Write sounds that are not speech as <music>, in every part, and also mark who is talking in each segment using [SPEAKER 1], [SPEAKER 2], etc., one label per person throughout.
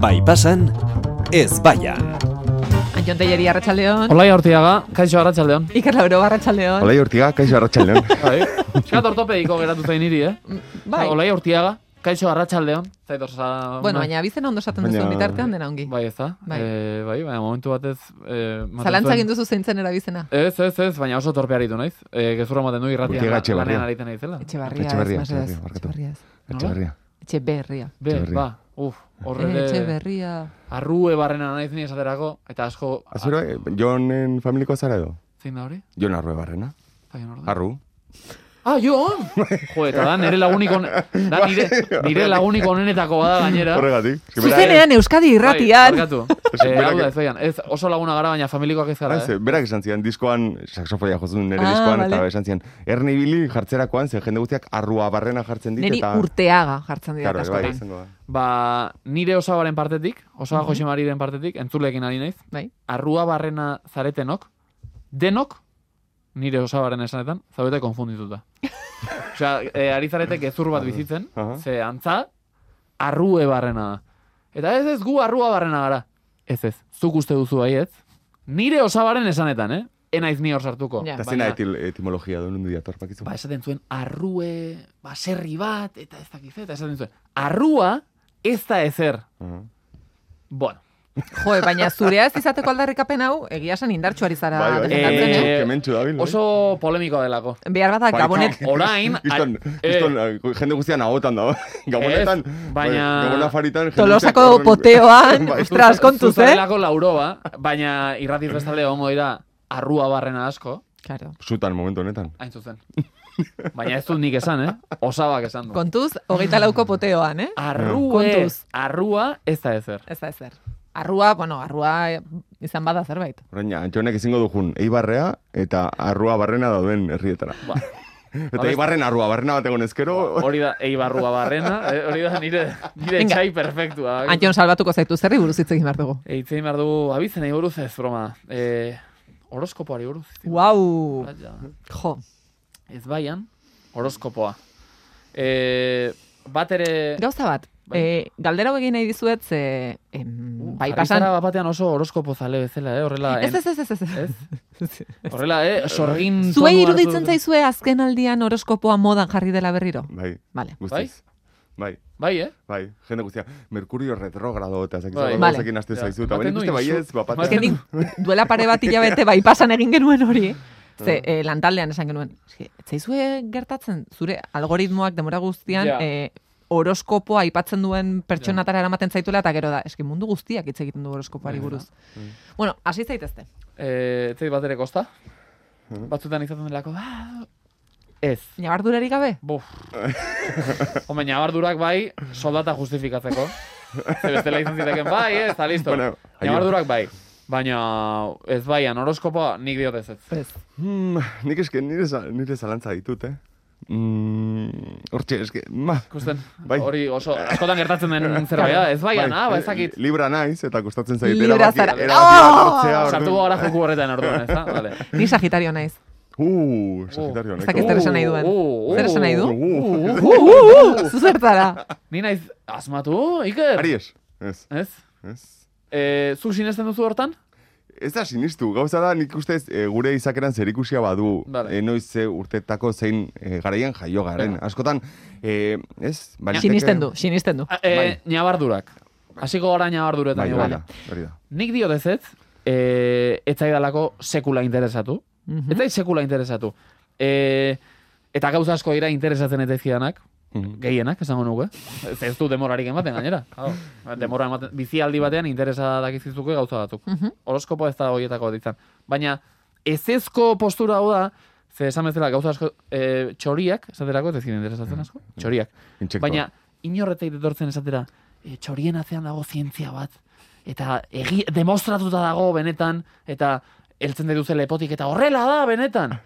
[SPEAKER 1] Bai pasan, ez baian.
[SPEAKER 2] Antion Telleri, arratsaldeon.
[SPEAKER 3] Olai aurtiaga, kaixo arratsaldeon.
[SPEAKER 2] Iker Lauro, arratsaldeon.
[SPEAKER 4] Olai urtiga, kaixo
[SPEAKER 2] <laughs>
[SPEAKER 4] arratxaldeon.
[SPEAKER 3] Bai. Eskat ortopediko geratu zain niri, eh?
[SPEAKER 2] Bai,
[SPEAKER 3] Olai aurtiaga, kaixo arratsaldeon. Zait osa...
[SPEAKER 2] bueno, baina bizena ondo esaten
[SPEAKER 4] Baina-
[SPEAKER 2] duzun bitartean dena ongi.
[SPEAKER 3] Bai, ez da?
[SPEAKER 2] Bai.
[SPEAKER 3] Bai. E, bai, baina momentu batez... E,
[SPEAKER 2] Zalantza egin duzu zeintzen erabizena.
[SPEAKER 3] Ez, ez, ez, baina oso torpe aritu naiz. E, gezurra ematen du irratian
[SPEAKER 4] Urtiaga
[SPEAKER 3] la-
[SPEAKER 4] Etxebarria.
[SPEAKER 3] lanean aritzen naizela.
[SPEAKER 2] Etxebarria,
[SPEAKER 4] Etxebarria,
[SPEAKER 2] ez, mesedez.
[SPEAKER 4] Etxebarria, barkatu.
[SPEAKER 2] Etxebarria, ez.
[SPEAKER 4] Etxeberria.
[SPEAKER 2] Etxe berria.
[SPEAKER 3] Be,
[SPEAKER 4] Etxebarria.
[SPEAKER 3] ba, uf, horre
[SPEAKER 2] Eh,
[SPEAKER 3] ere...
[SPEAKER 2] Etxeberria.
[SPEAKER 3] Arrue barrena naiz ni esaterako, eta asko...
[SPEAKER 2] Ah.
[SPEAKER 3] a-
[SPEAKER 4] Azero, eh, jonen familiko zara edo?
[SPEAKER 3] Zein da hori?
[SPEAKER 4] Jon arrue barrena.
[SPEAKER 3] Zain hor da.
[SPEAKER 4] Arru.
[SPEAKER 3] Ah, Jon! Jo, eta da nire lagunik on...
[SPEAKER 4] <laughs>
[SPEAKER 3] Da
[SPEAKER 4] Bai,
[SPEAKER 3] nire, nire lagunik onenetako bada gainera.
[SPEAKER 4] Horregatik. Ez que bera-
[SPEAKER 2] Zuzenean Euskadi irratian.
[SPEAKER 3] Bai,
[SPEAKER 2] <laughs>
[SPEAKER 3] barkatu.
[SPEAKER 4] Ez,
[SPEAKER 3] Eh,
[SPEAKER 4] berak-
[SPEAKER 3] hau da, ez baian. Ez oso laguna gara, baina familikoak ez gara,
[SPEAKER 4] Ah,
[SPEAKER 3] eh?
[SPEAKER 4] ze, berak esan zidan, diskoan, saxofoia jotzen nire
[SPEAKER 2] Ah,
[SPEAKER 4] diskoan,
[SPEAKER 2] vale.
[SPEAKER 4] eta esan zidan, erni bili jartzerakoan, ze jende guztiak arrua barrena jartzen dit,
[SPEAKER 2] Neri
[SPEAKER 4] eta...
[SPEAKER 2] urteaga jartzen dira
[SPEAKER 4] Claro, bai,
[SPEAKER 2] askotan.
[SPEAKER 4] izango da.
[SPEAKER 3] Ba, nire osabaren partetik, osaba Jose Mariren partetik, entzuleekin ari naiz,
[SPEAKER 2] Bai.
[SPEAKER 3] arrua barrena zaretenok, denok, nire osabaren esanetan, zaudete
[SPEAKER 4] <laughs>
[SPEAKER 3] konfundituta. Osea, e, ari zarete gezur bat bizitzen,
[SPEAKER 4] Aha.
[SPEAKER 3] ze antza, arrue barrena da. Eta ez ez gu arrua barrena gara. Ez ez, zuk uste duzu baietz. Nire osabaren esanetan, eh? Enaiz ni hor sartuko.
[SPEAKER 2] Ja.
[SPEAKER 4] Eta zena etil, etimologia duen undu diator, pakizu.
[SPEAKER 2] Bai.
[SPEAKER 3] ba, esaten zuen arrue, baserri bat, eta ez dakiz, eta esaten zuen, arrua ez da ezer.
[SPEAKER 4] Aha.
[SPEAKER 3] Bueno,
[SPEAKER 2] Jo, eh, baina zurea ez izateko aldarrikapen hau, egia esan indartsuari zara
[SPEAKER 4] Bai, bai,
[SPEAKER 2] defendatzen,
[SPEAKER 3] Eh,
[SPEAKER 2] eh?
[SPEAKER 4] kementsu dabil. bai.
[SPEAKER 3] oso polemikoa delako.
[SPEAKER 2] Behar bat
[SPEAKER 4] Bai, <laughs>
[SPEAKER 2] gabonet,
[SPEAKER 3] Orain,
[SPEAKER 4] Kiston,
[SPEAKER 3] ar-
[SPEAKER 4] kiston,
[SPEAKER 3] eh,
[SPEAKER 4] eh, jende guztian ahotan dago. <laughs> Gabonetan, Bai,
[SPEAKER 3] baina-
[SPEAKER 4] Gabona faritan... jende
[SPEAKER 2] tolosako
[SPEAKER 4] guztiak horren-
[SPEAKER 2] poteoan,
[SPEAKER 4] Bai.
[SPEAKER 2] ostras, kontuz,
[SPEAKER 3] Zuza
[SPEAKER 2] eh?
[SPEAKER 3] delako lauroa, baina irratiz bestalde ongo dira arrua barrena asko,
[SPEAKER 2] Claro.
[SPEAKER 4] Zutan, momentu honetan.
[SPEAKER 3] hain zuzen. Baina ez dut nik esan, eh? Osabak esan du.
[SPEAKER 2] Kontuz, hogeita lauko poteoan, eh?
[SPEAKER 3] Arrue,
[SPEAKER 2] Kontuz.
[SPEAKER 3] arrua ez da ezer.
[SPEAKER 2] Ez da ezer. Arrua, bueno, arrua eh, izan bada zerbait.
[SPEAKER 4] Orain, Antxonek ezingo dujun, Eibarrea eta Arrua Barrena dauden herrietara.
[SPEAKER 3] Ba,
[SPEAKER 4] <laughs> Eta
[SPEAKER 3] Babes-
[SPEAKER 4] Eibarren Arrua Barrena bat egon ezkero,
[SPEAKER 3] hori da eibarrua barrena, eh, hori da nire, nire
[SPEAKER 2] Venga.
[SPEAKER 3] txai perfektua.
[SPEAKER 2] Antion salbatuko zaitu zerri buruz hitz egin behar dugu.
[SPEAKER 3] Eitzein behar dugu abizenei buruz ez, broma. E, horoskopoari buruz.
[SPEAKER 2] Wow!
[SPEAKER 3] Aia.
[SPEAKER 2] Jo,
[SPEAKER 3] Ez baian, horoskopoa. E, bat ere...
[SPEAKER 2] gauza bat.
[SPEAKER 3] Bai.
[SPEAKER 2] eh, galdera hau egin nahi dizuet, ze, em,
[SPEAKER 3] Uh,
[SPEAKER 2] bai
[SPEAKER 3] jarri
[SPEAKER 2] pasan...
[SPEAKER 3] zara bat batean oso horoskopo zale bezala, eh? Horrela,
[SPEAKER 2] Ez,
[SPEAKER 3] en-
[SPEAKER 2] ez, ez, ez, ez.
[SPEAKER 3] horrela
[SPEAKER 2] <laughs>
[SPEAKER 3] eh? Sorgin...
[SPEAKER 2] Zuei
[SPEAKER 3] tonua
[SPEAKER 2] iruditzen
[SPEAKER 3] hartu-
[SPEAKER 2] zaizue azken aldian horoskopoa modan jarri dela berriro.
[SPEAKER 4] <laughs> bai,
[SPEAKER 2] Vale.
[SPEAKER 4] guztiz. Bai?
[SPEAKER 3] Bai, eh?
[SPEAKER 4] Bai, jende guztia. Merkurio retrogrado eta zakizu
[SPEAKER 3] Bai.
[SPEAKER 4] bai.
[SPEAKER 2] Vale.
[SPEAKER 4] gauzekin aste
[SPEAKER 3] Ja.
[SPEAKER 4] zaizu. Eta
[SPEAKER 3] Ematen
[SPEAKER 4] baina bai
[SPEAKER 3] du
[SPEAKER 4] ikuste
[SPEAKER 3] insu-
[SPEAKER 4] baiez, bapatean.
[SPEAKER 2] Ez que nik duela pare bat hilabete bai pasan egin genuen hori. eh?
[SPEAKER 4] Ah.
[SPEAKER 2] Ze, eh, lantaldean esan genuen. Eske, Ez zaizue gertatzen, zure algoritmoak demora guztian,
[SPEAKER 3] Ja.
[SPEAKER 2] eh, horoskopoa aipatzen duen pertsonatara eramaten zaituela, eta gero da, eski mundu guztiak hitz egiten du horoskopoari
[SPEAKER 3] Bai,
[SPEAKER 2] buruz.
[SPEAKER 4] Mm.
[SPEAKER 2] Bueno, hasi zaitezte.
[SPEAKER 3] E, ez zait bat ere kosta?
[SPEAKER 2] Mhm.
[SPEAKER 3] Batzutan izaten delako... Ah, ez.
[SPEAKER 2] Nabardurarik gabe?
[SPEAKER 3] Buf. Hombre, nabardurak bai, soldata justifikatzeko. Ze bestela izan ziteken, bai, ez, da, listo.
[SPEAKER 4] Bueno, aio.
[SPEAKER 3] nabardurak bai. Baina, ez baian, horoskopoa nik diot ez ez.
[SPEAKER 2] Ez.
[SPEAKER 4] Hmm, nik eske nire, za- nire zalantza ditut, eh? Mm, hortxe, eske, ma.
[SPEAKER 3] Ikusten,
[SPEAKER 4] Bai.
[SPEAKER 3] hori oso, askotan gertatzen den zerbait da, ez baian, ah, ba,
[SPEAKER 4] eh,
[SPEAKER 3] ezakit.
[SPEAKER 4] Libra naiz, eta kostatzen zait.
[SPEAKER 2] Libra
[SPEAKER 4] erabaki-
[SPEAKER 2] zara.
[SPEAKER 4] erabaki bat
[SPEAKER 2] Oh!
[SPEAKER 4] hartzea, orduan.
[SPEAKER 3] Sartuko gara joku horretan orduan, ez da?
[SPEAKER 4] <laughs>
[SPEAKER 3] Vale.
[SPEAKER 2] Ni sagitario naiz.
[SPEAKER 4] Mm. Uh, Sagitario,
[SPEAKER 2] Ez
[SPEAKER 4] nahiko.
[SPEAKER 2] dakit zer esan nahi duen.
[SPEAKER 3] Uh, uh,
[SPEAKER 2] Zer esan nahi du?
[SPEAKER 4] <laughs> Uh, uh, uh.
[SPEAKER 2] Uh, uh, uh,
[SPEAKER 4] <laughs>
[SPEAKER 2] zuzertara.
[SPEAKER 3] Ni naiz, asmatu, Iker?
[SPEAKER 4] Aries. Ez,
[SPEAKER 3] Ez?
[SPEAKER 4] ez.
[SPEAKER 3] E, zuk sinesten duzu hortan?
[SPEAKER 4] Ez da sinistu, gauza da nik ustez e, gure izakeran zerikusia badu
[SPEAKER 3] Vale.
[SPEAKER 4] e, noiz ze urtetako zein e, garaian jaio garen. Askotan, e, ez? baliteke-
[SPEAKER 2] Sinisten du, sinisten du.
[SPEAKER 3] A, E, nabardurak. Hasiko gara nabarduretan.
[SPEAKER 4] Bai,
[SPEAKER 3] igual.
[SPEAKER 4] hori da, hori da.
[SPEAKER 3] Nik diot ez ez, e, ez zaidalako sekula interesatu.
[SPEAKER 2] Mhm.
[SPEAKER 4] <laughs>
[SPEAKER 3] Ez zait sekula interesatu. E, eta gauza asko dira interesatzen ez daizkidanak,
[SPEAKER 4] Mhm.
[SPEAKER 3] gehienak, esango nuke. Ez, ez du demorarik ematen gainera. Hau, Demora ematen, bizialdi batean interesa dakizizuke gauza batzuk.
[SPEAKER 2] Mhm.
[SPEAKER 3] Horoskopoa ez da horietako bat izan. Baina, ezezko postura hau da, ze esan bezala gauza asko, e, txoriak, esaterako, ez ziren interesatzen asko, txoriak.
[SPEAKER 4] Intsektua.
[SPEAKER 3] Baina, inorretek detortzen esatera, e, txorien atzean dago zientzia bat, eta egi, demostratuta dago benetan, eta heltzen deduze lepotik, eta horrela da benetan!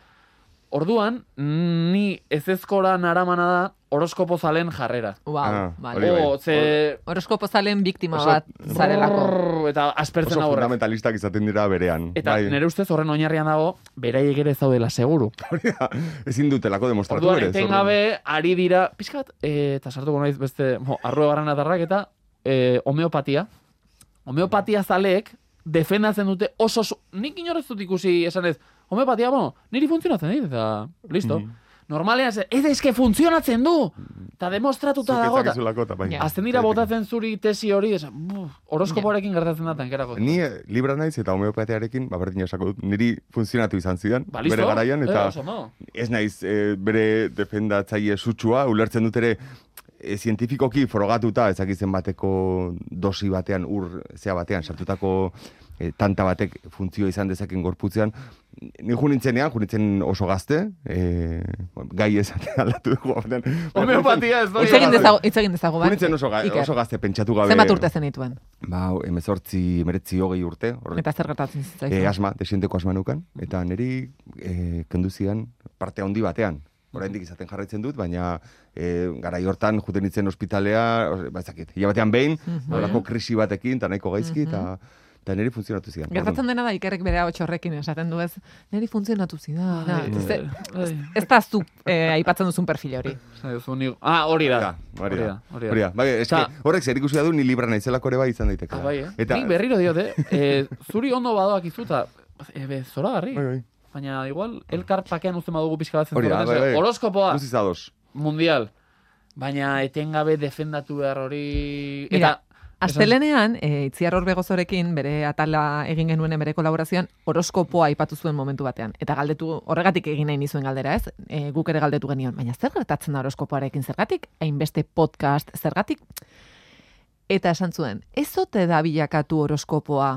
[SPEAKER 3] Orduan, ni ezezkora naramana da horoskopo zalen jarrera.
[SPEAKER 2] Wow,
[SPEAKER 4] Ah,
[SPEAKER 2] vale.
[SPEAKER 4] hori bai.
[SPEAKER 3] O, ze...
[SPEAKER 2] Horoskopo zalen biktima
[SPEAKER 4] Oso-
[SPEAKER 2] bat zarelako.
[SPEAKER 3] Brrrr, Eta aspertzen
[SPEAKER 4] Oso
[SPEAKER 3] aurrak.
[SPEAKER 4] fundamentalistak izaten dira berean.
[SPEAKER 3] Eta
[SPEAKER 4] bai.
[SPEAKER 3] nire ustez horren oinarrian dago, beraiek ere ez daudela seguru.
[SPEAKER 4] Ezin dutelako demostratu
[SPEAKER 3] Orduan,
[SPEAKER 4] berez,
[SPEAKER 3] etengabe, ari eh, dira, pixka bat, e, eta sartuko naiz beste, mo, arrue barren atarrak eta e, homeopatia, homeopatia zaleek defendatzen dute oso, oso nik inorez dut ikusi esanez, homeopatia, bueno, niri funtzionatzen dit, eta listo.
[SPEAKER 4] Mm.
[SPEAKER 3] Normalean, ze- ez eske funtzionatzen du! Eta demostratuta
[SPEAKER 4] Zuk
[SPEAKER 3] dago. eta-
[SPEAKER 4] ezakizulako, eta bai.
[SPEAKER 2] Ja.
[SPEAKER 3] Azten dira botatzen zuri tesi hori, esan, buf, horoskopoarekin gertatzen da, tankerako.
[SPEAKER 4] Ni eh, libra naiz eta homeopatiarekin, ba, berdin esako dut, niri funtzionatu izan zidan,
[SPEAKER 3] Ba, listo?
[SPEAKER 4] bere garaian,
[SPEAKER 3] Eh,
[SPEAKER 4] eta
[SPEAKER 3] oso, no?
[SPEAKER 4] ez naiz eh, bere defendatzaile sutsua, ulertzen dut ere eh, zientifikoki frogatuta, ezakizen bateko dosi batean, ur zea batean, sartutako eh, tanta batek funtzio izan dezaken gorputzean. Ni junintzenen, junintzen oso gazte, eh, gai esaten aldatu dugu. ordean.
[SPEAKER 3] Homeopatia ez doia.
[SPEAKER 2] Hitz egin dezago, hitz egin dezago, bai?
[SPEAKER 4] Junintzen oso, ga,
[SPEAKER 2] Iker,
[SPEAKER 4] oso gazte pentsatu gabe.
[SPEAKER 2] Zenbat urte zenituen?
[SPEAKER 4] Ba, emezortzi, meretzi hogei urte. horrela.
[SPEAKER 2] Eta zer gertatzen
[SPEAKER 4] e,
[SPEAKER 2] zitzaizun?
[SPEAKER 4] asma, desienteko asma nukan, eta niri e, kendu zidan parte handi batean. Oraindik izaten jarraitzen dut, baina e, garai hortan juten nintzen ospitalea, os- ba, ez dakit, hilabetean behin,
[SPEAKER 2] Mhm.
[SPEAKER 4] horako krisi batekin, eta nahiko gaizki, eta eta niri funtzionatu zidan.
[SPEAKER 2] Gertatzen
[SPEAKER 4] orduan.
[SPEAKER 2] dena da ikerrek bere hau txorrekin esaten du ez, niri funtzionatu zidan. da.
[SPEAKER 3] Ai,
[SPEAKER 2] Ez,
[SPEAKER 3] ai.
[SPEAKER 2] ez da zu eh, aipatzen duzun perfil hori.
[SPEAKER 3] Esan duzu ni- Ah, hori da.
[SPEAKER 4] Da, hori da,
[SPEAKER 3] Hori da.
[SPEAKER 4] hori da. Bai, eske,
[SPEAKER 3] Ta-
[SPEAKER 4] horrek zer ikusi du ni libra naizelako ere bai izan daiteke.
[SPEAKER 3] Ah, bai, eh?
[SPEAKER 4] Eta,
[SPEAKER 3] Nik berriro diot,
[SPEAKER 4] <laughs>
[SPEAKER 3] eh? Eh, zuri ondo badoak izuta, e, be, zora
[SPEAKER 4] Bai, bai.
[SPEAKER 3] Baina igual, elkar pakean uzten badugu pixka bat
[SPEAKER 4] Hori da,
[SPEAKER 3] zentratzen,
[SPEAKER 4] bai,
[SPEAKER 3] ze
[SPEAKER 4] bai.
[SPEAKER 3] Horoskopoa,
[SPEAKER 4] Guztiz ados.
[SPEAKER 3] mundial. Baina etengabe defendatu behar hori...
[SPEAKER 2] Mira,
[SPEAKER 3] Eta,
[SPEAKER 2] Astelenean, e, itziar horbegozorekin, bere atala egin genuen bere kolaborazioan, horoskopoa aipatu zuen momentu batean. Eta galdetu, horregatik egin nahi nizuen galdera, ez? E, guk ere galdetu genion, baina zer gertatzen da horoskopoarekin zergatik? Hainbeste podcast zergatik? Eta esan zuen, ez ote da bilakatu horoskopoa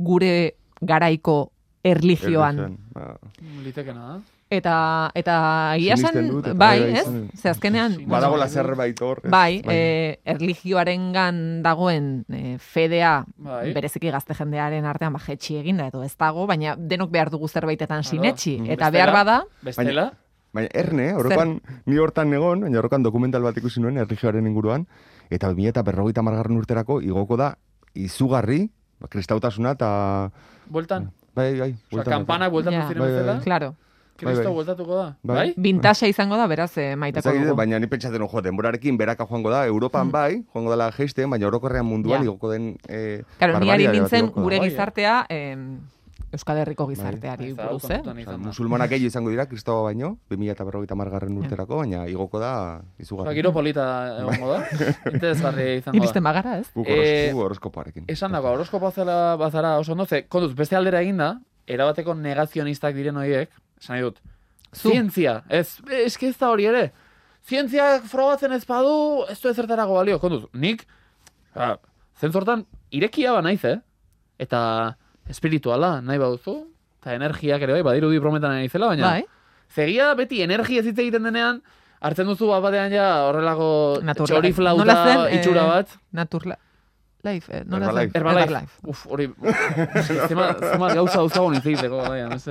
[SPEAKER 2] gure garaiko erlijioan.
[SPEAKER 4] Erlijioan, ba.
[SPEAKER 3] Bai, litekena da.
[SPEAKER 2] Eta, eta egia esan,
[SPEAKER 4] Sinisten dut, eta
[SPEAKER 2] bai,
[SPEAKER 4] bai, bai,
[SPEAKER 2] ez?
[SPEAKER 4] izan-
[SPEAKER 2] Ze azkenean,
[SPEAKER 3] Sinisten dut.
[SPEAKER 4] Badagola zerbait hor. ez?
[SPEAKER 2] Bai,
[SPEAKER 4] Bai.
[SPEAKER 2] e, erligioarengan dagoen e, fedea
[SPEAKER 3] Bai.
[SPEAKER 2] bereziki gazte jendearen artean ba jetxi eginda edo ez dago, baina denok behar dugu zerbaitetan
[SPEAKER 3] Claro.
[SPEAKER 2] sinetxi
[SPEAKER 4] Mm.
[SPEAKER 2] eta behar bada
[SPEAKER 3] Bestela,
[SPEAKER 4] Baina erne, orokan, ni hortan egon, baina orokan dokumental bat ikusi nuen erlijioaren inguruan, eta 2000 eta berrogeita margarren urterako igoko da izugarri, ba, kristautasuna eta...
[SPEAKER 3] bueltan.
[SPEAKER 4] Bai, bai,
[SPEAKER 3] Osa,
[SPEAKER 4] bueltan-
[SPEAKER 3] kampana bueltan
[SPEAKER 2] Ja.
[SPEAKER 3] ziren
[SPEAKER 4] Bai, bai,
[SPEAKER 3] bezala.
[SPEAKER 4] bai.
[SPEAKER 2] claro,
[SPEAKER 3] Kristo
[SPEAKER 4] Bai, bai.
[SPEAKER 3] bueltatuko da.
[SPEAKER 4] Bai.
[SPEAKER 3] Bai?
[SPEAKER 2] bintaxa izango da beraz eh,
[SPEAKER 4] Ez
[SPEAKER 2] maitako
[SPEAKER 4] dakit,
[SPEAKER 2] dugu. Mm.
[SPEAKER 4] baina ni pentsatzen jo, denborarekin beraka joango da, Europan bai, joango dela jeisten, baina orokorrean munduan
[SPEAKER 2] Ja.
[SPEAKER 4] igoko den... E,
[SPEAKER 2] Claro, ni ari
[SPEAKER 4] barbaridade bat
[SPEAKER 2] nintzen
[SPEAKER 4] igoko da.
[SPEAKER 2] gure
[SPEAKER 3] Bai, eh. Bai.
[SPEAKER 2] gizartea eh, Euskal Herriko gizarteari
[SPEAKER 3] Ez da, hau
[SPEAKER 2] buruz, eh?
[SPEAKER 3] kontutan
[SPEAKER 4] Osa,
[SPEAKER 3] izan da.
[SPEAKER 4] musulmanak gehiago izango dira, kristaua baino, 2000 eta berrogeita margarren
[SPEAKER 2] Mm.
[SPEAKER 4] urterako, baina igoko da
[SPEAKER 3] Osa,
[SPEAKER 4] izugarri.
[SPEAKER 3] Ba, giro polita
[SPEAKER 4] <laughs>
[SPEAKER 3] egongo da. Interesgarria izango da.
[SPEAKER 2] Iristen bagara, ez?
[SPEAKER 4] Guk
[SPEAKER 3] Eh,
[SPEAKER 4] horos- gu horoskopoarekin.
[SPEAKER 3] Esan dago, horoskopoa zela bazara oso ondo, ze, kontuz, beste aldera eginda, erabateko negazionistak diren horiek, esan nahi dut,
[SPEAKER 2] Zu.
[SPEAKER 3] zientzia, ez, eski ez da hori ere, zientziak frogatzen ez badu, ez du ezertarako balio, kontuz, nik, ah, zentzortan, irekia ba naiz, eh? Eta espirituala nahi baduzu, eta energiak ere bai, badirudi prometan nahi zela, baina,
[SPEAKER 2] Bai.
[SPEAKER 3] zegia da beti energia hitz egiten denean, hartzen duzu bat batean ja horrelako
[SPEAKER 2] Naturala.
[SPEAKER 3] txori flauta
[SPEAKER 2] Nola zen, eh,
[SPEAKER 3] itxura bat.
[SPEAKER 2] Naturla Life, eh, nola zen?
[SPEAKER 4] Herbalife.
[SPEAKER 3] Herbalife.
[SPEAKER 2] Herbalife.
[SPEAKER 3] Uf, hori... zema, zema gauza dauzkago nintziteko, baina, ez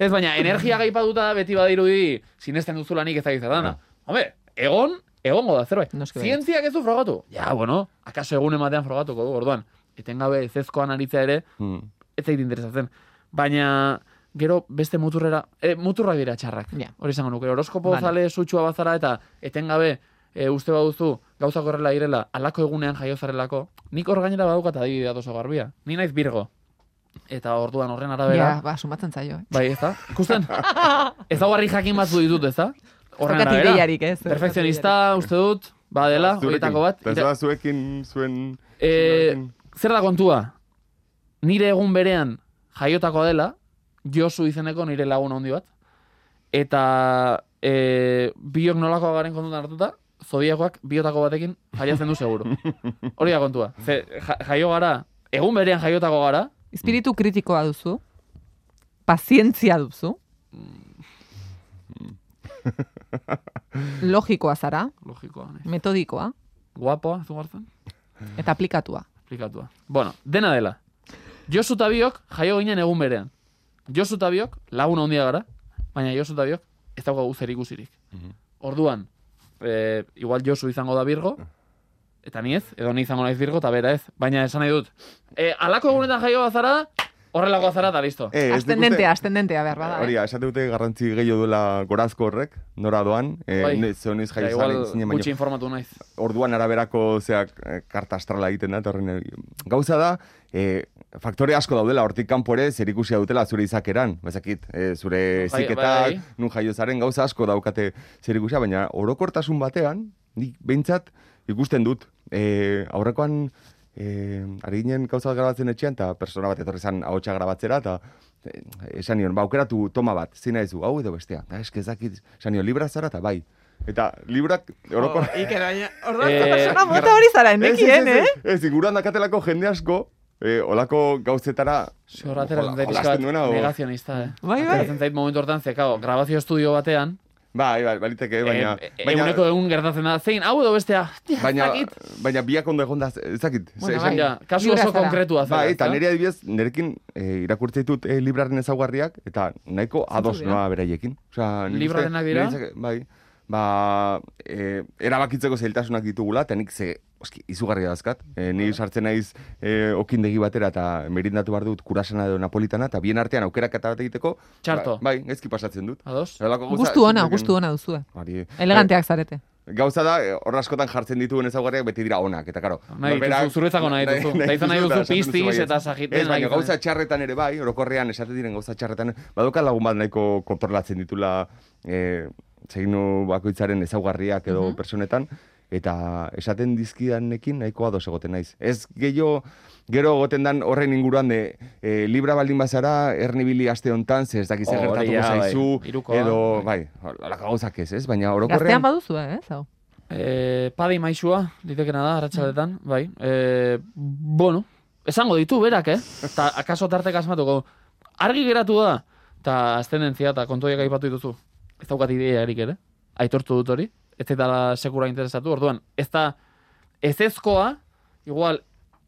[SPEAKER 3] Ez, baina, energia gaipa duta beti badirudi sinesten duzula nik ez da dana. Hombre, egon, egongo da zerbait.
[SPEAKER 2] Ah. Noski bai. baietz.
[SPEAKER 3] Zientziak ez du frogatu. Ja, bueno, akaso egun ematean frogatuko du, orduan. Etengabe ezezkoan aritza ere,
[SPEAKER 4] Hmm.
[SPEAKER 3] ez zait interesatzen. Baina, gero beste muturrera, e, muturrak dira txarrak.
[SPEAKER 2] Ja.
[SPEAKER 3] Hori izango nuke, horoskopo
[SPEAKER 2] Vale.
[SPEAKER 3] zale sutxua bazara eta etengabe e, uste baduzu gauzak horrela direla, alako egunean jaio zarelako, nik hor gainera badukat adibidea oso garbia. Ni naiz birgo. Eta orduan horren arabera,
[SPEAKER 2] Ja, ba, sumatzen zaio, eh?
[SPEAKER 3] bai, ez da?
[SPEAKER 2] <laughs>
[SPEAKER 3] Ikusten? Ezagarri jakin batzu ditut, ez da? Horren
[SPEAKER 2] Zergatik
[SPEAKER 3] arabera.
[SPEAKER 2] ideiarik, ez? Zergatik
[SPEAKER 3] Perfekzionista, uste dut, badela,
[SPEAKER 4] Zurekin.
[SPEAKER 3] horietako bat.
[SPEAKER 4] Eta ez da zuekin zuen...
[SPEAKER 3] E, zer da kontua? Nire egun berean jaiotako dela, Josu izeneko nire lagun handi bat, eta e, biok nolako garen kontutan hartuta, zodiakoak biotako batekin jaiatzen du seguru. Hori da kontua. Ze, ja, jaio gara, egun berean jaiotako gara,
[SPEAKER 2] Espiritu kritikoa duzu, pazientzia duzu, logikoa zara,
[SPEAKER 3] logikoa, ne?
[SPEAKER 2] metodikoa
[SPEAKER 3] guapoa, zu hartzen,
[SPEAKER 2] eta aplikatua.
[SPEAKER 3] aplikatua. Bueno, dena dela. Josu eta biok jaio ginen egun berean. Josu eta biok lagun handia gara, baina Josu eta biok ez daukagu zer ikusirik. Orduan, e, igual Josu izango da Birgo, eta ni ez, edo ni izango naiz Birgo, eta bera ez. Baina esan nahi dut, e, alako egunetan eh, jaio bazara, Horrelako zara da, listo.
[SPEAKER 4] Eh, ez nik uste-
[SPEAKER 2] Ascendentea, ascendentea behar bada.
[SPEAKER 4] Hori,
[SPEAKER 2] eh?
[SPEAKER 4] esate dute garrantzi gehiago duela gorazko horrek, nora doan, eh,
[SPEAKER 3] Bai.
[SPEAKER 4] ne- zeo noiz
[SPEAKER 3] Ja,
[SPEAKER 4] jaio
[SPEAKER 3] igual
[SPEAKER 4] zaren, zinen baino,
[SPEAKER 3] gutxi informatu naiz.
[SPEAKER 4] orduan araberako zeak eh, karta astrala egiten da, eta horren eh, gauza da, eh, faktore asko daudela, hortik kanpo ere zer ikusia dutela zure izakeran, bezakit, eh, zure
[SPEAKER 3] Bai,
[SPEAKER 4] ziketak,
[SPEAKER 3] bai.
[SPEAKER 4] nun jaio zaren, gauza asko daukate zer ikusia, baina orokortasun batean, nik behintzat ikusten dut, eh, aurrekoan, eh, ari ginen gauza bat grabatzen etxean, eta persona bat etorri zan ahotsa grabatzera, eta eh, esan nion, ba, aukeratu toma bat, zina izu, hau edo bestea, da, eske ezakit, esan nion, libra zara, eta bai, Eta librak orokor...
[SPEAKER 3] Oh.
[SPEAKER 2] Iker, baina, orduan,
[SPEAKER 3] Eh,
[SPEAKER 2] persona mota hori zara,
[SPEAKER 4] ez,
[SPEAKER 2] endekien,
[SPEAKER 4] ez,
[SPEAKER 2] eh?
[SPEAKER 4] ez, ez, inguruan dakatelako jende asko, eh, olako gauzetara...
[SPEAKER 3] Zorratera
[SPEAKER 4] jola-
[SPEAKER 3] dut pixka
[SPEAKER 4] jolasten
[SPEAKER 3] bat
[SPEAKER 4] o-
[SPEAKER 3] negazionista, eh.
[SPEAKER 2] Bai, bai.
[SPEAKER 3] Ateratzen zait momentu hortan, ze, kao, grabazio estudio batean,
[SPEAKER 4] Bai, bai, baliteke, baina...
[SPEAKER 3] eh, eh,
[SPEAKER 4] baina,
[SPEAKER 3] eguneko egun gertatzen da, zein, hau edo bestea, tia,
[SPEAKER 4] baina,
[SPEAKER 3] dakit.
[SPEAKER 4] baina biak ondo egon da, ezakit. ze-
[SPEAKER 2] Bueno,
[SPEAKER 4] esan-
[SPEAKER 2] bai.
[SPEAKER 3] Ja, kasu
[SPEAKER 2] Librea
[SPEAKER 3] oso
[SPEAKER 2] zara.
[SPEAKER 3] konkretua zela.
[SPEAKER 4] Bai, eta
[SPEAKER 3] ezta?
[SPEAKER 4] nire adibidez, nirekin eh, irakurtze ditut eh, libraren ezaugarriak, eta nahiko ados
[SPEAKER 2] dira?
[SPEAKER 4] noa beraiekin. Osea, nik uste
[SPEAKER 3] Librarenak
[SPEAKER 4] nire
[SPEAKER 3] dira?
[SPEAKER 4] izak- bai, ba, eh, erabakitzeko zailtasunak ditugula, eta nik ze, oski, izugarri dazkat. Eh, ni sartzen naiz eh, okindegi batera, eta merindatu behar dut kurasana edo napolitana, eta bien artean aukerak eta bat egiteko,
[SPEAKER 3] Txarto.
[SPEAKER 4] ba- bai, gaizki pasatzen dut.
[SPEAKER 3] Ados?
[SPEAKER 4] Horrelako gauza-
[SPEAKER 2] Gustu ona,
[SPEAKER 4] zenbaiten-
[SPEAKER 2] gustu ona duzue.
[SPEAKER 4] Hori-
[SPEAKER 2] Eleganteak zarete.
[SPEAKER 4] Gauza da, eh, hor askotan jartzen dituen ezaugarriak beti dira onak, eta karo.
[SPEAKER 3] Nahi dituzu,
[SPEAKER 4] norberak-
[SPEAKER 3] zuretzako Bai, nahi dituzu. Eta izan nahi
[SPEAKER 4] <laughs> dituzu,
[SPEAKER 3] duzu
[SPEAKER 4] esaten duzu
[SPEAKER 3] piztiz
[SPEAKER 4] baietz.
[SPEAKER 3] eta zagiten
[SPEAKER 4] Ez,
[SPEAKER 3] nahi
[SPEAKER 4] baina
[SPEAKER 3] izan.
[SPEAKER 4] gauza txarretan ere bai, orokorrean esaten diren gauza txarretan, badoka lagun bat nahiko kontrolatzen ditula eh, zeinu bakoitzaren ezaugarriak edo
[SPEAKER 3] Mhm.
[SPEAKER 4] personetan, eta esaten dizkidanekin nahiko ados egoten naiz. Ez gehiago, gero egoten dan horren inguruan de, eh, libra baldin bazara, ernibili aste hontan, ze ez dakiz
[SPEAKER 3] Hori
[SPEAKER 4] gertatuko
[SPEAKER 3] ja, bai.
[SPEAKER 4] zaizu,
[SPEAKER 3] Hirukoa.
[SPEAKER 4] edo, bai, alaka gauzak ez, ez? Baina
[SPEAKER 2] Gaztean
[SPEAKER 4] orokorrean...
[SPEAKER 2] baduzue, eh? Zau.
[SPEAKER 3] Eh, padei maixua, litekena da, arratsaldetan, bai. Eh, bueno, esango ditu berak, eh? Eta akaso tartek asmatuko. Argi geratu da, eta aztenentzia eta kontoiak aipatu dituzu. Ez daukat ideiarik ere, aitortu dut hori. Ez eta sekura interesatu, orduan, ez da ezezkoa, igual,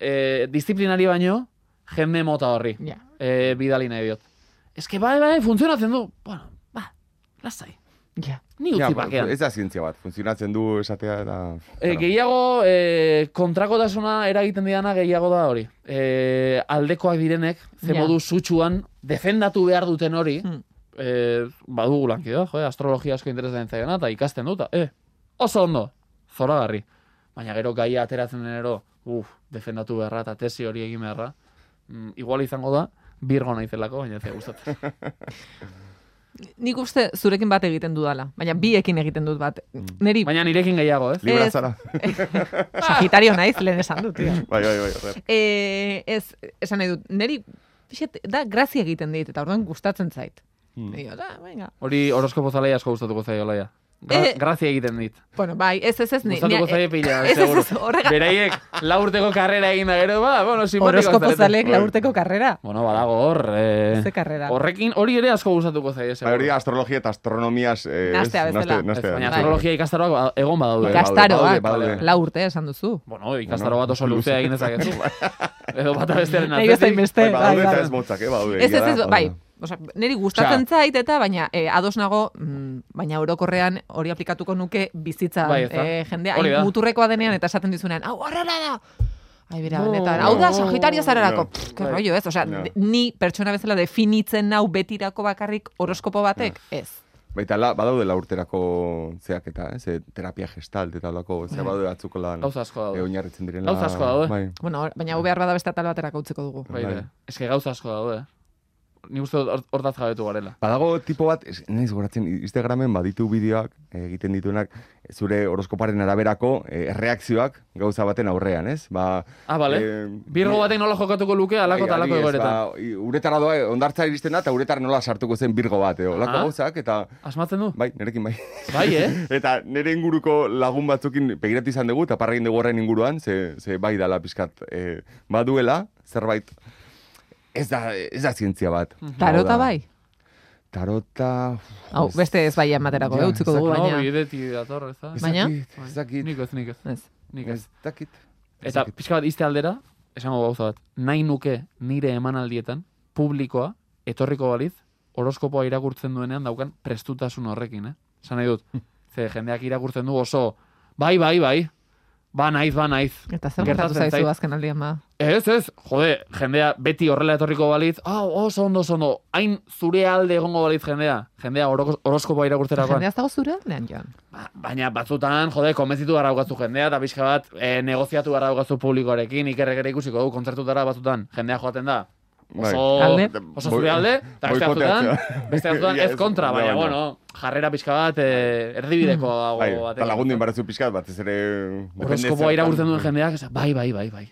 [SPEAKER 3] eh, disiplinari baino, jende mota horri.
[SPEAKER 2] Ja.
[SPEAKER 3] Eh, bidali nahi diot. Ez que bai, bai, funtzionatzen du. Bueno, ba, lasai.
[SPEAKER 2] Ja.
[SPEAKER 3] Ni Eh, utzi
[SPEAKER 4] Ja, ba,
[SPEAKER 3] bakean.
[SPEAKER 4] ez da zientzia bat, funtzionatzen du esatea da...
[SPEAKER 3] E, gehiago, e, kontrakotasuna eragiten diana gehiago da hori. E, aldekoak direnek, ze
[SPEAKER 2] Ja.
[SPEAKER 3] modu sutsuan, defendatu behar duten hori,
[SPEAKER 2] Mm.
[SPEAKER 3] e, badugu lankidea, jo, astrologia asko interesatzen zaiona, eta ikasten dut, e, oso ondo, zoragarri. Baina gero gaia ateratzen denero, uf, defendatu beharra eta tesi hori egin beharra. Mm, igual izango da, birgo naizelako, baina ez zait gustatzen.
[SPEAKER 2] Nik uste zurekin bat egiten dudala, baina biekin egiten dut bat.
[SPEAKER 4] Mm.
[SPEAKER 2] Neri,
[SPEAKER 3] baina nirekin gehiago, ez?
[SPEAKER 4] Libra
[SPEAKER 2] ez-
[SPEAKER 3] <laughs>
[SPEAKER 4] zara.
[SPEAKER 2] Sagitario naiz, lehen esan dut.
[SPEAKER 4] <laughs>
[SPEAKER 2] tio.
[SPEAKER 4] bai, bai, bai. horre.
[SPEAKER 2] E, ez, esan nahi dut, neri, pixet, da, grazia egiten dit, eta orduan gustatzen zait.
[SPEAKER 3] Hmm.
[SPEAKER 2] Dio, da, venga.
[SPEAKER 3] Hori horoskopo zalei asko gustatuko zaio laia. Gra
[SPEAKER 2] Eh.
[SPEAKER 3] grazia egiten dit.
[SPEAKER 2] Bueno, bai, ez, ez, ez. ni-
[SPEAKER 3] Gustatuko
[SPEAKER 2] ni-
[SPEAKER 3] zaie pila,
[SPEAKER 2] <laughs> ez, ez,
[SPEAKER 3] seguro.
[SPEAKER 2] ez, horrega,
[SPEAKER 3] Beraiek, laurteko karrera egin da gero, ba, bueno, simpatikoak
[SPEAKER 2] horoskopo
[SPEAKER 3] zarete.
[SPEAKER 2] zalek laurteko karrera.
[SPEAKER 3] Bueno, badago hor, eh,
[SPEAKER 2] Ze karrera.
[SPEAKER 3] horrekin hori ere asko gustatuko zaie,
[SPEAKER 4] Bai,
[SPEAKER 3] seguro.
[SPEAKER 4] hori astrologia eta astronomiaz... Eh,
[SPEAKER 2] Nahastea bezala.
[SPEAKER 4] Nastea,
[SPEAKER 3] Baina
[SPEAKER 2] Bai.
[SPEAKER 3] astrologia ikastaroak ba- egon badaude.
[SPEAKER 4] Ikas-
[SPEAKER 2] Ikastaroak,
[SPEAKER 4] Badaude, badaude.
[SPEAKER 2] lau urte esan duzu.
[SPEAKER 3] Bueno, ikastaro
[SPEAKER 4] Bueno,
[SPEAKER 3] bat oso luzea egin dezakezu.
[SPEAKER 2] <laughs> Bai.
[SPEAKER 3] Edo bata bestearen
[SPEAKER 2] Nahi bezain
[SPEAKER 3] atzetik.
[SPEAKER 2] beste. bai,
[SPEAKER 4] badaude
[SPEAKER 2] bai.
[SPEAKER 4] eta ez motzak, eh, badaude.
[SPEAKER 2] Ez, ez,
[SPEAKER 4] jada,
[SPEAKER 2] ez,
[SPEAKER 4] badaude.
[SPEAKER 2] bai. Osa, niri gustatzen
[SPEAKER 4] Osea-
[SPEAKER 2] zait eta baina eh, ados nago, mm, baina orokorrean hori aplikatuko nuke bizitza
[SPEAKER 3] Bai,
[SPEAKER 2] bai,
[SPEAKER 3] ez da.
[SPEAKER 2] jendea,
[SPEAKER 3] Hori
[SPEAKER 2] hain
[SPEAKER 3] da.
[SPEAKER 2] muturrekoa denean eta esaten dizunean, hau horrela da! Ai, bera,
[SPEAKER 3] No,
[SPEAKER 2] benetan, hau da,
[SPEAKER 3] no,
[SPEAKER 2] sagitario zararako,
[SPEAKER 4] no.
[SPEAKER 2] Pff, ke
[SPEAKER 3] Bai.
[SPEAKER 2] rollo, ez? Osea,
[SPEAKER 4] No.
[SPEAKER 2] de- ni pertsona bezala definitzen nau betirako bakarrik horoskopo batek, ez.
[SPEAKER 4] Baita, la, badaude laurterako zeak eta, ez, eh, terapia gestalt eta olako, zea badaude batzuk lan...
[SPEAKER 3] Bai. Gauza asko daude.
[SPEAKER 4] eh, oinarritzen direla...
[SPEAKER 3] Gauza asko daude.
[SPEAKER 4] Bai.
[SPEAKER 2] Bueno, hor- baina hau behar bada beste atal baterako utziko dugu.
[SPEAKER 3] Bai,
[SPEAKER 4] Bai.
[SPEAKER 3] bai. Ez que gauza asko daude. Ni uste dut hor- hortaz jabetu garela.
[SPEAKER 4] Badago tipo bat, ez, naiz goratzen, Instagramen baditu bideoak eh, egiten dituenak zure horoskoparen araberako eh, erreakzioak gauza baten aurrean, ez? Ba,
[SPEAKER 3] Ah, bale.
[SPEAKER 4] eh,
[SPEAKER 3] Birgo batek nola jokatuko luke, alako eta
[SPEAKER 4] Bai,
[SPEAKER 3] alako
[SPEAKER 4] adibidez,
[SPEAKER 3] egoeretan.
[SPEAKER 4] ba, i- uretara doa, ondartza iristen da, eta uretar nola sartuko zen birgo bat, edo. Lako
[SPEAKER 3] Aha.
[SPEAKER 4] gauzak, eta...
[SPEAKER 3] Asmatzen du?
[SPEAKER 4] Bai, nerekin bai. <laughs>
[SPEAKER 3] Bai, eh?
[SPEAKER 4] eta nire inguruko lagun batzukin begiratu izan dugu, eta parra egin dugu horren inguruan, ze, ze bai dala pixkat. E, baduela, zerbait... Ez da, ez da zientzia bat.
[SPEAKER 3] Mhm.
[SPEAKER 4] Hau da,
[SPEAKER 2] Tarota bai?
[SPEAKER 4] Tarota...
[SPEAKER 2] Hau, beste ez baia ematerako,
[SPEAKER 4] Ja,
[SPEAKER 2] eh, utziko dugu,
[SPEAKER 3] Baina...
[SPEAKER 2] baina...
[SPEAKER 3] bideti dator, ez da? Bai.
[SPEAKER 4] Ez
[SPEAKER 2] Baina? Bai.
[SPEAKER 4] dakit, Ez dakit,
[SPEAKER 3] Nik ez, nik ez.
[SPEAKER 2] Ez.
[SPEAKER 3] Nik ez.
[SPEAKER 4] ez dakit. Ez
[SPEAKER 3] Eta
[SPEAKER 4] dakit.
[SPEAKER 3] pixka bat izte aldera, esango gauza bat, nahi nuke nire emanaldietan, publikoa, etorriko baliz, horoskopoa irakurtzen duenean daukan
[SPEAKER 4] Hmm.
[SPEAKER 3] prestutasun horrekin, eh? Esan nahi dut, ze jendeak irakurtzen du oso, bai, bai, bai, ba naiz, ba naiz.
[SPEAKER 2] Eta zer gertatu
[SPEAKER 3] Gertatzen
[SPEAKER 2] zaizu
[SPEAKER 3] zait.
[SPEAKER 2] azken aldian ba?
[SPEAKER 3] Ez, ez, jode, jendea beti horrela etorriko balitz, ah, oso ondo, oso ondo, hain zure alde egongo balitz jendea, jendea oro, horoskopoa irakurtzerakoan.
[SPEAKER 2] Jendea ez dago zure aldean, Jon.
[SPEAKER 3] Ba, baina batzutan, jode, konbentzitu gara daukazu jendea, eta pixka bat, e, negoziatu gara daukazu publikoarekin, ikerrek ere ikusiko du, kontzertutara batzutan, jendea joaten da.
[SPEAKER 4] Bai.
[SPEAKER 3] Oso,
[SPEAKER 2] Alde.
[SPEAKER 3] oso zure alde, eta beste batzutan,
[SPEAKER 4] Boikoteatzea. <laughs>
[SPEAKER 3] beste batzutan
[SPEAKER 4] Ja,
[SPEAKER 3] ez kontra,
[SPEAKER 4] ja,
[SPEAKER 3] baina,
[SPEAKER 4] baina.
[SPEAKER 3] bueno, jarrera pixka bat, e, erdibideko dago
[SPEAKER 4] Bai, eta
[SPEAKER 3] batekin.
[SPEAKER 4] lagundu inbarazu pixkat, batez ere... depende
[SPEAKER 3] Horoskopoa
[SPEAKER 4] zertan.
[SPEAKER 3] irakurtzen duen jendeak, esan, bai, bai, bai, bai.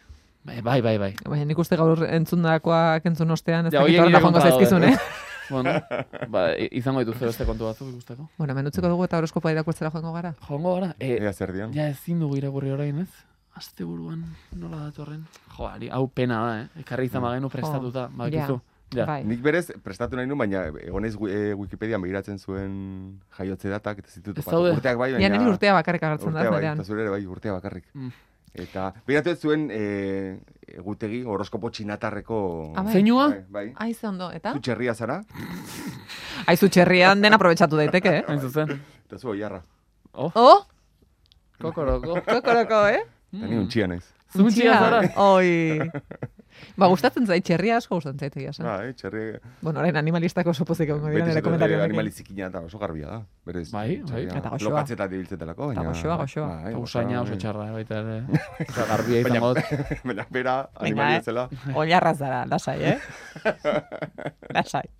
[SPEAKER 3] Bai, bai, bai, bai.
[SPEAKER 2] Baina nik uste gaur entzundakoak entzun ostean, ez
[SPEAKER 3] Ja,
[SPEAKER 2] dakit
[SPEAKER 3] horiek
[SPEAKER 2] horrela
[SPEAKER 3] nire
[SPEAKER 2] joango
[SPEAKER 3] kontra
[SPEAKER 2] zaizkizun,
[SPEAKER 3] daude.
[SPEAKER 2] eh?
[SPEAKER 3] Bueno, <laughs> ba, i- izango dituzte beste kontu batzuk ikusteko.
[SPEAKER 2] Bueno, hemen utziko dugu eta horoskopoa irakurtzera joango gara.
[SPEAKER 3] Jongo gara, e,
[SPEAKER 2] Eh,
[SPEAKER 4] Ea zer dian.
[SPEAKER 3] ja ezin dugu irakurri orain ez? Aste buruan, nola datorren? Jo, ari, hau pena da, eh? Ekarri
[SPEAKER 4] Mm.
[SPEAKER 3] izan bagenu prestatuta,
[SPEAKER 2] Jo,
[SPEAKER 3] bakizu. Oh, Ja,
[SPEAKER 2] Bai.
[SPEAKER 4] Nik berez, prestatu nahi nuen, baina egonez e, Wikipedian begiratzen zuen jaiotze datak, eta zitut
[SPEAKER 3] Ez
[SPEAKER 4] topatu.
[SPEAKER 3] daude.
[SPEAKER 4] Urteak bai, baina...
[SPEAKER 2] Ja, niri urtea bakarrik agertzen da,
[SPEAKER 4] urtea bai,
[SPEAKER 2] nerean.
[SPEAKER 4] eta zure ere bai, urtea bakarrik.
[SPEAKER 3] Mm.
[SPEAKER 4] Eta, begiratu ez zuen e, egutegi horoskopo txinatarreko...
[SPEAKER 2] Ah, bai.
[SPEAKER 3] Zeinua?
[SPEAKER 4] Bai, bai.
[SPEAKER 2] Ai, ze ondo, eta?
[SPEAKER 4] Zu txerria zara,
[SPEAKER 2] Aizu txerrian dena aprobetsatu daiteke, eh?
[SPEAKER 3] Hain zuzen.
[SPEAKER 4] eta zu oiarra.
[SPEAKER 2] <laughs> Oh,
[SPEAKER 3] Kokoroko. <laughs>
[SPEAKER 2] kokoroko, eh?
[SPEAKER 4] Eta ni untxia naiz.
[SPEAKER 3] Zuntxia zara.
[SPEAKER 2] Oi.
[SPEAKER 4] <laughs>
[SPEAKER 2] Ba, gustatzen zait, txerria asko gustatzen zait egia esan.
[SPEAKER 4] Ba, eh, txerri...
[SPEAKER 2] Bueno, orain animalistako oso pozik egongo dira
[SPEAKER 4] Beti
[SPEAKER 2] nire
[SPEAKER 4] zaten
[SPEAKER 2] komentarioekin.
[SPEAKER 4] animalizikina eta oso garbia da. Berez,
[SPEAKER 3] Bai, bai.
[SPEAKER 4] txerria.
[SPEAKER 2] Eta goxoa.
[SPEAKER 4] Lokatzeta dibiltzetelako, baina...
[SPEAKER 2] Eta goxoa, goxoa.
[SPEAKER 4] Bai,
[SPEAKER 3] Usaina oso
[SPEAKER 4] bai.
[SPEAKER 3] txarra, eh, baita
[SPEAKER 4] <laughs>
[SPEAKER 3] ere. Eta garbia izango dut.
[SPEAKER 4] Baina, bera,
[SPEAKER 2] eh.
[SPEAKER 4] animalia zela.
[SPEAKER 2] Oiarra zara, lasai, eh?
[SPEAKER 4] <laughs>
[SPEAKER 2] lasai.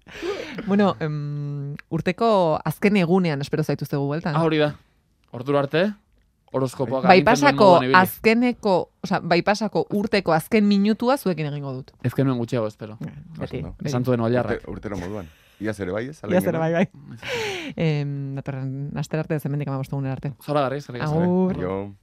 [SPEAKER 2] Bueno, em, urteko azken egunean espero zaituztegu bueltan.
[SPEAKER 3] Ah, hori da. Ordura arte, horoskopoak
[SPEAKER 2] Bai
[SPEAKER 3] agintzen duen
[SPEAKER 2] pasako
[SPEAKER 3] moduan ibili.
[SPEAKER 2] azkeneko, o sea, bai pasako urteko azken minutua zuekin egingo dut.
[SPEAKER 3] Ez genuen gutxiago, espero.
[SPEAKER 2] Beti.
[SPEAKER 4] ondo.
[SPEAKER 2] beti.
[SPEAKER 3] Esan zuen
[SPEAKER 4] Urte,
[SPEAKER 3] oilarrak.
[SPEAKER 4] urtero moduan. Iaz ere bai, ez?
[SPEAKER 2] Ia zera, bai, bai. Em, datorren aster arte, zemendik amabostu arte.
[SPEAKER 4] Bai.
[SPEAKER 3] Zora garri, eskerrik asko.
[SPEAKER 2] Agur.
[SPEAKER 4] Yo...